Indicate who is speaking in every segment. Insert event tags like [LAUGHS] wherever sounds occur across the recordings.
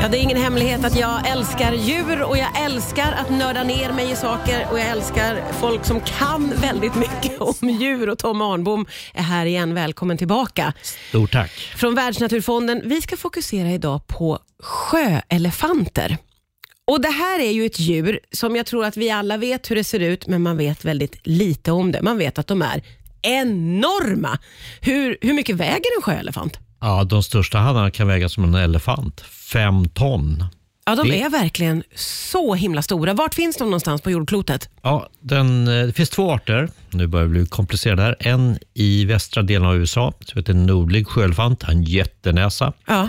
Speaker 1: Ja, det är ingen hemlighet att jag älskar djur och jag älskar att nörda ner mig i saker och jag älskar folk som kan väldigt mycket om djur och Tom Arnbom är här igen. Välkommen tillbaka.
Speaker 2: Stort tack.
Speaker 1: Från Världsnaturfonden. Vi ska fokusera idag på sjöelefanter. Och Det här är ju ett djur som jag tror att vi alla vet hur det ser ut, men man vet väldigt lite om det. Man vet att de är enorma. Hur, hur mycket väger en sjöelefant?
Speaker 2: Ja, de största hannarna kan väga som en elefant. Fem ton.
Speaker 1: Ja, de
Speaker 2: Det-
Speaker 1: är verkligen så himla stora. Vart finns de någonstans på jordklotet?
Speaker 2: Ja, den, eh, det finns två arter. Nu börjar det bli komplicerat här. En i västra delen av USA, som heter nordlig sjöelefant. Han har en jättenäsa.
Speaker 1: Ja.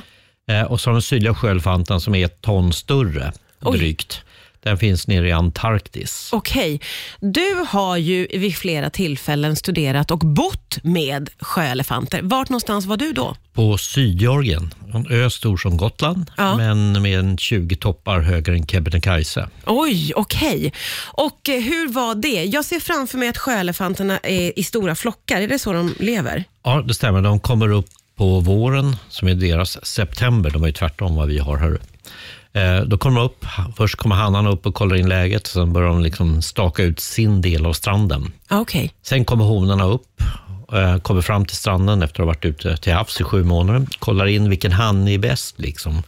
Speaker 2: Eh, och så har den sydliga sjöelefanten som är ett ton större,
Speaker 1: Oj.
Speaker 2: drygt. Den finns nere i Antarktis.
Speaker 1: Okej. Du har ju vid flera tillfällen studerat och bott med sjöelefanter. Vart någonstans var du då?
Speaker 2: På Sydgeorgien, en ö stor som Gotland,
Speaker 1: Ja.
Speaker 2: men med en 20 toppar högre än Kebnekaise.
Speaker 1: Oj, okej. Och eh, hur var det? Jag ser framför mig att sjöelefanterna är i stora flockar. Är det så de lever?
Speaker 2: Ja, det stämmer. De kommer upp på våren, som är deras september. De är ju tvärtom vad vi har här uppe. Eh, Då kommer de upp. Först kommer hannarna upp och kollar in läget. Sen börjar de liksom staka ut sin del av stranden.
Speaker 1: Ja, Okej.
Speaker 2: Sen kommer honorna upp, eh, kommer fram till stranden efter att ha varit ute till havs i sju månader. Kollar in vilken han är bäst. Liksom.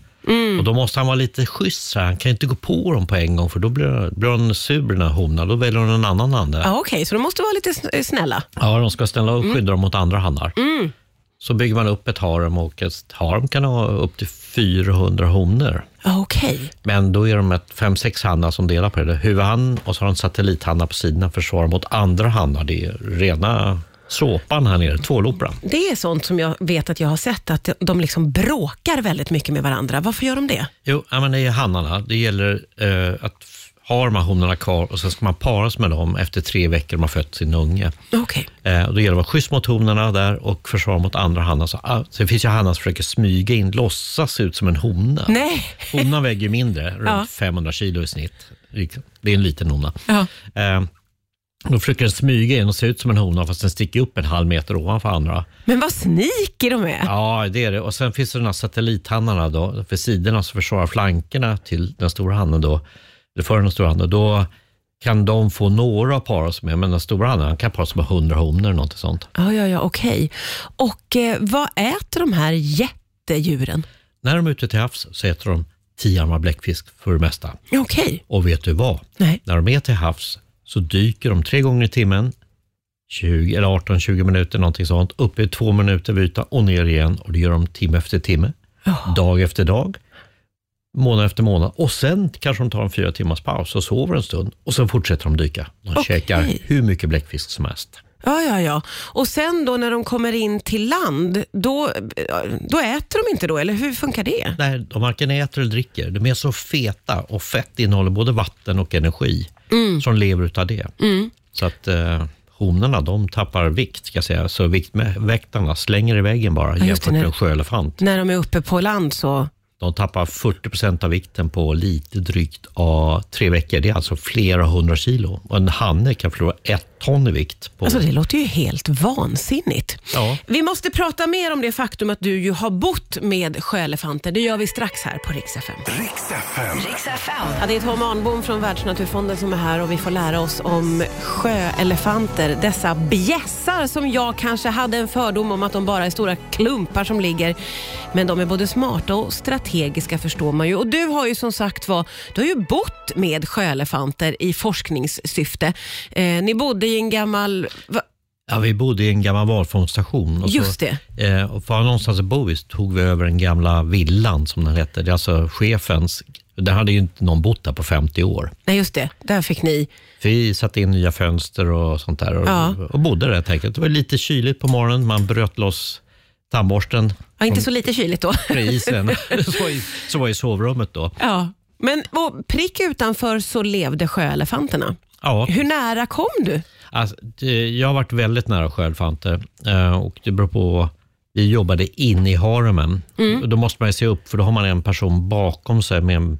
Speaker 2: Och Då måste han vara lite schysst. så här. Han kan ju inte gå på dem på en gång, för då blir, blir hon sur, den här honan. Då väljer hon en annan hane.
Speaker 1: Ja, okej. Så de måste vara lite sn- eh, snälla.
Speaker 2: Ja, de ska ställa och skydda dem mot andra hannar. Så bygger man upp ett harem och ett harem kan ha upp till 400 honor.
Speaker 1: Ja, Okej.
Speaker 2: Men då är de ett fem, sex hannar som delar på det. Huvudhann och så har de satellithannar på sidorna för att svara mot andra hannar. Det är rena såpan här nere, tvåloperan.
Speaker 1: Det är sånt som jag vet att jag har sett, att de liksom bråkar väldigt mycket med varandra. Varför gör de det?
Speaker 2: Jo, ja, men det är hannarna. Det gäller eh, att f- ha de här honorna kvar och sen ska man paras med dem efter tre veckor de har fött sin unge.
Speaker 1: Okej.
Speaker 2: Eh, och då gäller det att vara schysst mot honorna där och försvara mot andra hannar. Så, ah, så det finns ju hannar som försöker smyga in, låtsas se ut som en hona.
Speaker 1: Nej.
Speaker 2: Honan väger ju mindre, runt
Speaker 1: Mm. Ja.
Speaker 2: 500 kilo i snitt. Liksom. Det är en liten hona.
Speaker 1: Ja.
Speaker 2: Eh, då försöker den smyga in och se ut som en hona fast den sticker upp en halv meter ovanför andra.
Speaker 1: Men vad sneaky de är.
Speaker 2: Ja, det är det. Och sen finns det de här satellithannarna då, för sidorna som försvarar flankerna till den stora hannen då, eller för den stora hannen. Då kan de få några att para sig med, men den stora hannen han kan para sig med 100 honor eller något sånt.
Speaker 1: Ja, ja, ja, okej. Och eh, vad äter de här jättedjuren?
Speaker 2: När de är ute till havs så äter de tiarmad bläckfisk för det mesta.
Speaker 1: Ja, Okej.
Speaker 2: Och vet du vad?
Speaker 1: Nej.
Speaker 2: När de är till havs så dyker de tre gånger i timmen, 20, eller 18-20 minuter, någonting sånt, upp i två minuter vid ytan och ner igen. Och det gör de timme efter timme,
Speaker 1: Jaha.
Speaker 2: dag efter dag, månad efter månad. Och sen kanske de tar en fyra timmars paus och sover en stund och sen fortsätter de dyka. De
Speaker 1: Okej.
Speaker 2: käkar hur mycket bläckfisk som helst.
Speaker 1: Ja, ja, ja. Och sen då när de kommer in till land, då, då äter de inte då, eller hur funkar det?
Speaker 2: Nej, de varken äter eller dricker. De är så feta och fett innehåller både vatten och energi.
Speaker 1: Mm.
Speaker 2: Så de lever utav det. Så att eh, honorna de tappar vikt, ska jag säga. Så viktväktarna slänger i väggen bara
Speaker 1: just det,
Speaker 2: jämfört med
Speaker 1: när-
Speaker 2: en sjöelefant.
Speaker 1: När de är uppe på land så...
Speaker 2: De tappar 40 av vikten på lite drygt av tre veckor. Det är alltså flera hundra kilo. Och en hanne kan förlora ett ton i vikt. På,
Speaker 1: Alltså det låter ju helt vansinnigt.
Speaker 2: Ja.
Speaker 1: Vi måste prata mer om det faktum att du ju har bott med sjöelefanter. Det gör vi strax här på Rix FM.
Speaker 3: Riks FM.
Speaker 4: Riks FM.
Speaker 1: Ja, det är Tom Arnbom från Världsnaturfonden som är här och vi får lära oss om sjöelefanter. Dessa bjässar som jag kanske hade en fördom om att de bara är stora klumpar som ligger. Men de är både smarta och strategiska förstår man ju. Och du har ju som sagt var, du har ju bott med sjöelefanter i forskningssyfte. Eh, ni bodde i en gammal... Va?
Speaker 2: Ja, vi bodde i en gammal valfångststation. och så-
Speaker 1: Just det.
Speaker 2: Eh, och för att ha någonstans att bo i så tog vi över den gamla villan som den hette. Det är alltså chefens. Där hade ju inte någon bott där på 50 år.
Speaker 1: Nej, just det. Där fick ni...
Speaker 2: Vi satte in nya fönster och sånt där och,
Speaker 1: Ja.
Speaker 2: och bodde där helt enkelt. Det var lite kyligt på morgonen. Man bröt loss tandborsten
Speaker 1: Ja, inte så lite kyligt då. [LAUGHS]
Speaker 2: från isen. så, var i, så var i sovrummet då.
Speaker 1: Ja. Men och prick utanför så levde sjöelefanterna.
Speaker 2: Ja,
Speaker 1: Hur nära kom du?
Speaker 2: alltså, det, jag har varit väldigt nära sköldfanter eh, och det beror på vi jobbade in i haremen. Och Då måste man ju se upp, för då har man en person bakom sig med en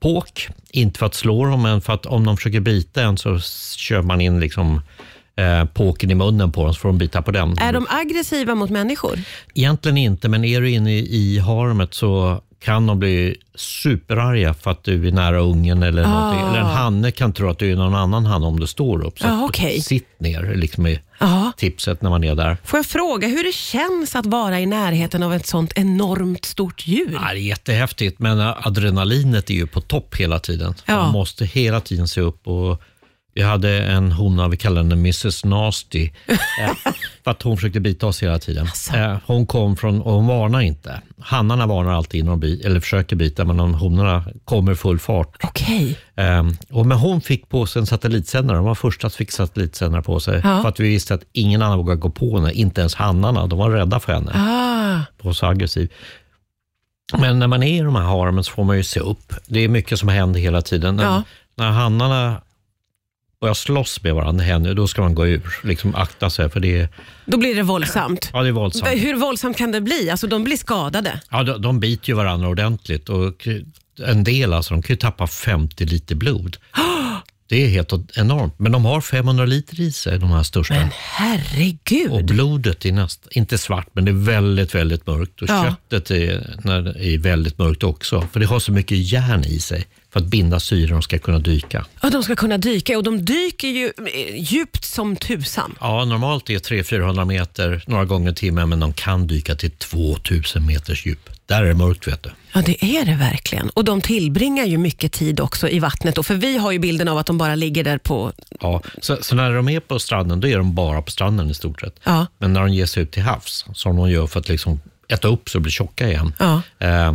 Speaker 2: påk. Inte för att slå dem, men för att om de försöker bita en så s- kör man in liksom, eh, påken i munnen på dem, så får de bita på den.
Speaker 1: Är de aggressiva mot människor?
Speaker 2: Egentligen inte, men är du inne i, i haremet så kan de bli superarga för att du är nära ungen eller
Speaker 1: Ah.
Speaker 2: någonting. Eller en hanne kan tro att du är någon annan hanne om du står upp. Så
Speaker 1: Ah,
Speaker 2: att
Speaker 1: okej. Ah.
Speaker 2: sitt ner liksom i
Speaker 1: Ja.
Speaker 2: tipset när man är där.
Speaker 1: Får jag fråga hur det känns att vara i närheten av ett sånt enormt stort djur?
Speaker 2: Ja, det är jättehäftigt, men adrenalinet är ju på topp hela tiden.
Speaker 1: Ja.
Speaker 2: Man måste hela tiden se upp. Och vi hade en hona, vi kallade henne Mrs Nasty,
Speaker 1: [LAUGHS]
Speaker 2: eh, för att hon försökte bita oss hela tiden.
Speaker 1: Alltså.
Speaker 2: Eh, Hon kom från, och hon varnar inte. Hannarna varnar alltid innan de bi, eller försöker bita, men de honorna kommer i full fart.
Speaker 1: Okej.
Speaker 2: Eh, Och men hon fick på sig en satellitsändare. Hon var första som fick satellitsändare på sig.
Speaker 1: Ja.
Speaker 2: För att vi visste att ingen annan vågade gå på henne, inte ens hannarna. De var rädda för henne
Speaker 1: Ah,
Speaker 2: på så aggressiv. Men när man är i de här harmen så får man ju se upp. Det är mycket som händer hela tiden. När,
Speaker 1: Ja.
Speaker 2: när hannarna börjar slåss med varandra, henne, då ska man gå ur. Liksom akta sig, för det är,
Speaker 1: då blir det våldsamt.
Speaker 2: ja, det är våldsamt.
Speaker 1: Hur våldsamt kan det bli? Alltså de blir skadade.
Speaker 2: Ja, de, de biter ju varandra ordentligt. Och en del alltså, de kan ju tappa 50 liter blod. Det är helt enormt. Men de har 500 liter i sig, de här största.
Speaker 1: Men herregud.
Speaker 2: Och blodet är nästan, inte svart, men det är väldigt, väldigt mörkt. Och
Speaker 1: Ja.
Speaker 2: köttet är, när, det är väldigt mörkt också, för det har så mycket järn i sig för att binda syre och de ska kunna dyka.
Speaker 1: Ja, de ska kunna dyka och de dyker ju eh, djupt som tusan.
Speaker 2: Ja, normalt är 300-400 meter några gånger i timmen, men de kan dyka till 2000 meters djup. Där är det mörkt, vet du.
Speaker 1: Ja, det är det verkligen. Och de tillbringar ju mycket tid också i vattnet. Då, för vi har ju bilden av att de bara ligger där på...
Speaker 2: Ja, så, så när de är på stranden, då är de bara på stranden i stort sett.
Speaker 1: Ja.
Speaker 2: Men när de ger sig ut till havs, som de gör för att liksom äta upp så de blir tjocka igen,
Speaker 1: Ja.
Speaker 2: eh,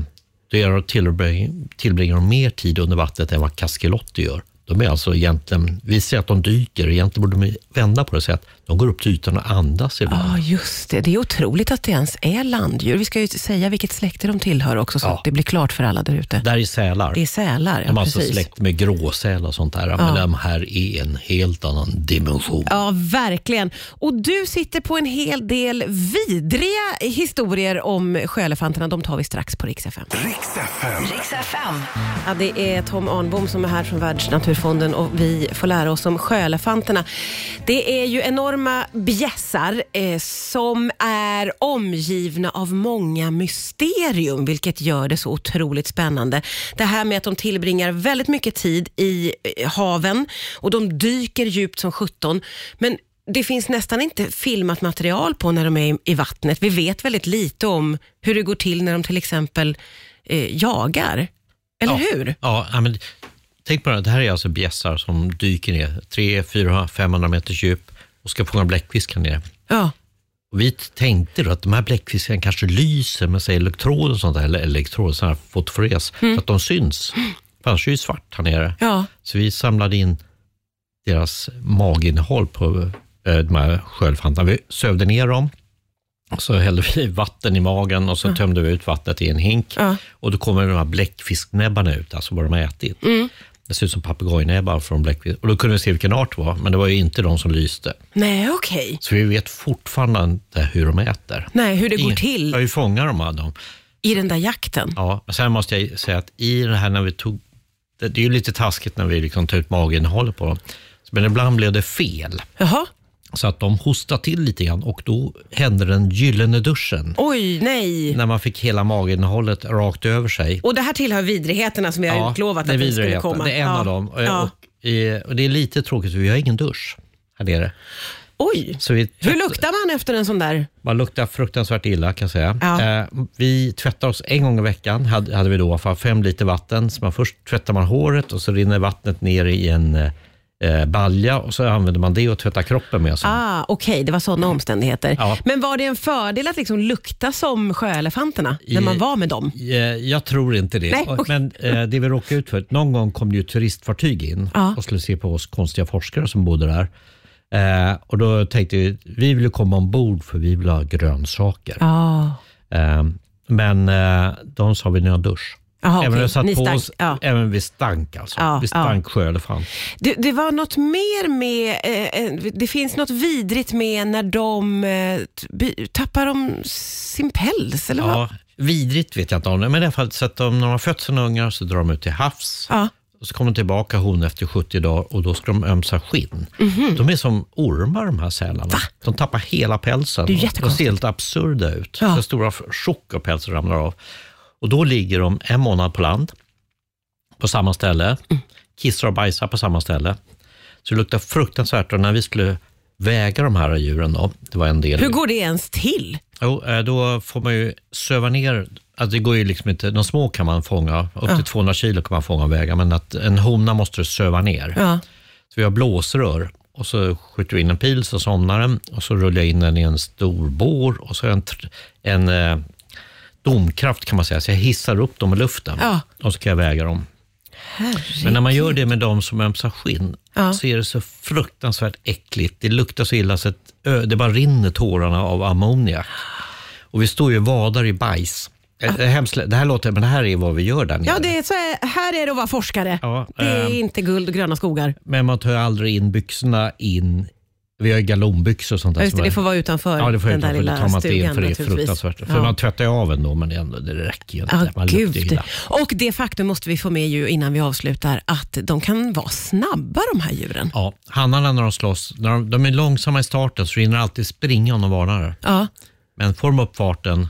Speaker 2: då är de tillbring, tillbringar de mer tid under vattnet än vad kaskelotter gör. De är alltså egentligen, vi ser att de dyker, egentligen borde de vända på det sätt. De går upp till ytan och andas ibland.
Speaker 1: Ja, just det. Det är otroligt att det ens är landdjur. Vi ska ju säga vilket släkte de tillhör också, så
Speaker 2: Ja.
Speaker 1: att det blir klart för alla där ute.
Speaker 2: Där är sälar.
Speaker 1: Det är sälar, ja,
Speaker 2: de är alltså
Speaker 1: precis. Ah.
Speaker 2: släkt med gråsäl och sånt där. Men de här är en helt annan dimension.
Speaker 1: Ja, verkligen. Och du sitter på en hel del vidriga historier om sjöelefanterna. De tar vi strax på Rix FM.
Speaker 3: Riks FM.
Speaker 4: Riks FM.
Speaker 1: Ja, det är Tom Arnbom som är här från Världsnaturfonden och vi får lära oss om sjöelefanterna. Det är ju enorma bjässar eh, som är omgivna av många mysterium, vilket gör det så otroligt spännande. Det här med att de tillbringar väldigt mycket tid i eh, haven och de dyker djupt som sjutton. Men det finns nästan inte filmat material på när de är i- i vattnet. Vi vet väldigt lite om hur det går till när de till exempel eh, jagar. Eller
Speaker 2: Ja.
Speaker 1: hur?
Speaker 2: Ja, ja, men tänk på det, här. det här är alltså bjässar som dyker ner 3, 4, 500 meters djup och ska fånga bläckfiskar ner.
Speaker 1: Ja.
Speaker 2: Och vi tänkte då att de här bläckfiskarna kanske lyser med sig elektroder och sånt där, eller elektroder, sån här fotofores, så att de syns. För Annars är det ju svart här nere.
Speaker 1: ja.
Speaker 2: Så vi samlade in deras maginnehåll på eh, de här sköldfantarna. Vi sövde ner dem, så hällde vi vatten i magen och så tömde vi ut vattnet i en hink.
Speaker 1: Ja.
Speaker 2: Och då kommer de här bläckfisknäbbarna ut, alltså vad de har ätit. Det ser ut som papegojnäbbar från bläckfisk. Och då kunde vi se vilken art det var, men det var ju inte de som lyste.
Speaker 1: Nej, okej.
Speaker 2: Så vi vet fortfarande inte hur de äter.
Speaker 1: Nej, hur det går
Speaker 2: Ingen- Ja,
Speaker 1: till
Speaker 2: hur fångar de här dem?
Speaker 1: i den där jakten.
Speaker 2: Ja, men sen måste jag säga att i det här när vi tog, det, det är ju lite taskigt när vi liksom tar ut maginnehållet på dem, men ibland blev det fel.
Speaker 1: Jaha.
Speaker 2: Så att de hostade till lite grann och då hände den gyllene duschen.
Speaker 1: Oj, nej.
Speaker 2: När man fick hela maginnehållet rakt över sig.
Speaker 1: Och det här tillhör vidrigheterna som vi har utlovat
Speaker 2: det är
Speaker 1: att vi skulle
Speaker 2: vidrigheter.
Speaker 1: komma.
Speaker 2: Det är en
Speaker 1: ja.
Speaker 2: av dem. Och,
Speaker 1: Ja.
Speaker 2: och, eh, och det är lite tråkigt för vi har ingen dusch här nere.
Speaker 1: Oj.
Speaker 2: Så vi
Speaker 1: Hur luktar man efter en sån där?
Speaker 2: Man luktar fruktansvärt illa kan jag säga.
Speaker 1: Ja.
Speaker 2: Eh, vi tvättar oss en gång i veckan, hade, hade vi då, för fem liter vatten. Så man först tvättar man håret och så rinner vattnet ner i en eh, balja och så använder man det och tvättar kroppen med. Sen.
Speaker 1: Ah, Okej, det var sådana omständigheter.
Speaker 2: Ja.
Speaker 1: Men var det en fördel att liksom lukta som sjöelefanterna när man
Speaker 2: I-
Speaker 1: var med dem?
Speaker 2: Eh, Jag tror inte det.
Speaker 1: Nej,
Speaker 2: Och-
Speaker 1: okej.
Speaker 2: Men eh, det vi råkade ut för, någon gång kom det ju turistfartyg in
Speaker 1: Ja.
Speaker 2: och skulle se på oss konstiga forskare som bodde där. Eh, och Då tänkte vi, vi vill ju komma ombord för vi vill ha grönsaker.
Speaker 1: Ja.
Speaker 2: Eh, men eh, de sa vi ni har dusch.
Speaker 1: Jaha,
Speaker 2: även,
Speaker 1: Ah, okej.
Speaker 2: vi satt
Speaker 1: Ni
Speaker 2: på
Speaker 1: stank,
Speaker 2: oss,
Speaker 1: ja.
Speaker 2: även vi stank alltså.
Speaker 1: Ja,
Speaker 2: vi stank sjöelefant.
Speaker 1: Det, det var något mer med, eh, eh, det finns något vidrigt med när de eh, t- by- tappar de sin päls eller vad?
Speaker 2: Ja, vidrigt vet jag inte om det, men i alla fall så att de, när de har fött sina ungar så drar de ut till havs.
Speaker 1: Ja.
Speaker 2: Och så kommer tillbaka hon efter 70 dagar och då ska de ömsa skinn.
Speaker 1: Mhm.
Speaker 2: De är som ormar de här sälarna. De tappar hela pälsen.
Speaker 1: Det är ju
Speaker 2: och de ser
Speaker 1: jättekonstigt.
Speaker 2: helt absurda ut.
Speaker 1: Ja.
Speaker 2: Så stora f- chock och pälsen ramlar av. Och då ligger de en månad på land, på samma ställe,
Speaker 1: Mm.
Speaker 2: kissar och bajsar på samma ställe. Så det luktar fruktansvärt och när vi skulle väga de här djuren då, det var en del.
Speaker 1: Hur går det ens till?
Speaker 2: Jo, eh, då får man ju söva ner, alltså det går ju liksom inte, de små kan man fånga, upp till 200 kilo kan man fånga och väga, men att en hona måste du söva ner.
Speaker 1: Ja.
Speaker 2: Så vi har blåsrör och så skjuter vi in en pil så somnar den och så rullar jag in den i en stor bår och så har jag en, tr- en eh, domkraft kan man säga, så jag hissar upp dem i luften
Speaker 1: Ja.
Speaker 2: och så kan jag väga dem. Men
Speaker 1: Herregud.
Speaker 2: när man gör det med de som ömsar skinn
Speaker 1: Ja.
Speaker 2: så är det så fruktansvärt äckligt. Det luktar så illa så att ö, det bara rinner tårarna av ammoniak. Och vi står ju och vadar i bajs. Eh, Det, är hemskt, lä- det här låter, men det här är vad vi gör där nere.
Speaker 1: Ja, det är så här, här är det att vara forskare.
Speaker 2: Ja,
Speaker 1: det är
Speaker 2: ehm. Alltså,
Speaker 1: inte guld och gröna skogar.
Speaker 2: Men man tar ju aldrig in byxorna in. Vi har ju galonbyxor och sånt där.
Speaker 1: Ja, just det,
Speaker 2: som
Speaker 1: det
Speaker 2: är-
Speaker 1: får vara utanför
Speaker 2: Ja, det får
Speaker 1: den
Speaker 2: jag
Speaker 1: där
Speaker 2: inte. Det tar
Speaker 1: lilla
Speaker 2: man inte in
Speaker 1: stugan
Speaker 2: för det är
Speaker 1: naturligtvis.
Speaker 2: fruktansvärt. För
Speaker 1: Ja.
Speaker 2: man tvättar ju av ändå, men det, ändå, det räcker ju inte.
Speaker 1: Ja,
Speaker 2: man luktar ju
Speaker 1: gud.
Speaker 2: illa.
Speaker 1: Och det faktum måste vi få med ju innan vi avslutar, att de kan vara snabba de här djuren.
Speaker 2: Ja, hannarna när de slåss, när de, de är långsamma i starten så hinner de alltid springa om de varnar.
Speaker 1: Ja,
Speaker 2: Men får de upp farten,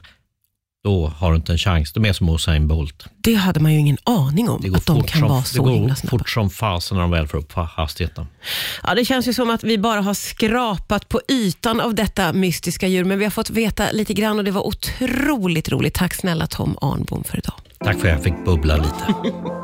Speaker 2: då har du inte en chans. De är som Usain Bolt.
Speaker 1: det hade man ju ingen aning
Speaker 2: Det
Speaker 1: om,
Speaker 2: går,
Speaker 1: att de
Speaker 2: fort,
Speaker 1: kan
Speaker 2: som,
Speaker 1: vara
Speaker 2: det
Speaker 1: så
Speaker 2: går
Speaker 1: himla snabba.
Speaker 2: fort som fasen när de väl får upp fa- hastigheten.
Speaker 1: Ja, det känns ju som att vi bara har skrapat på ytan av detta mystiska djur, men vi har fått veta lite grann och det var otroligt roligt. Tack snälla Tom Arnbom för idag.
Speaker 2: Tack för att jag fick bubbla lite.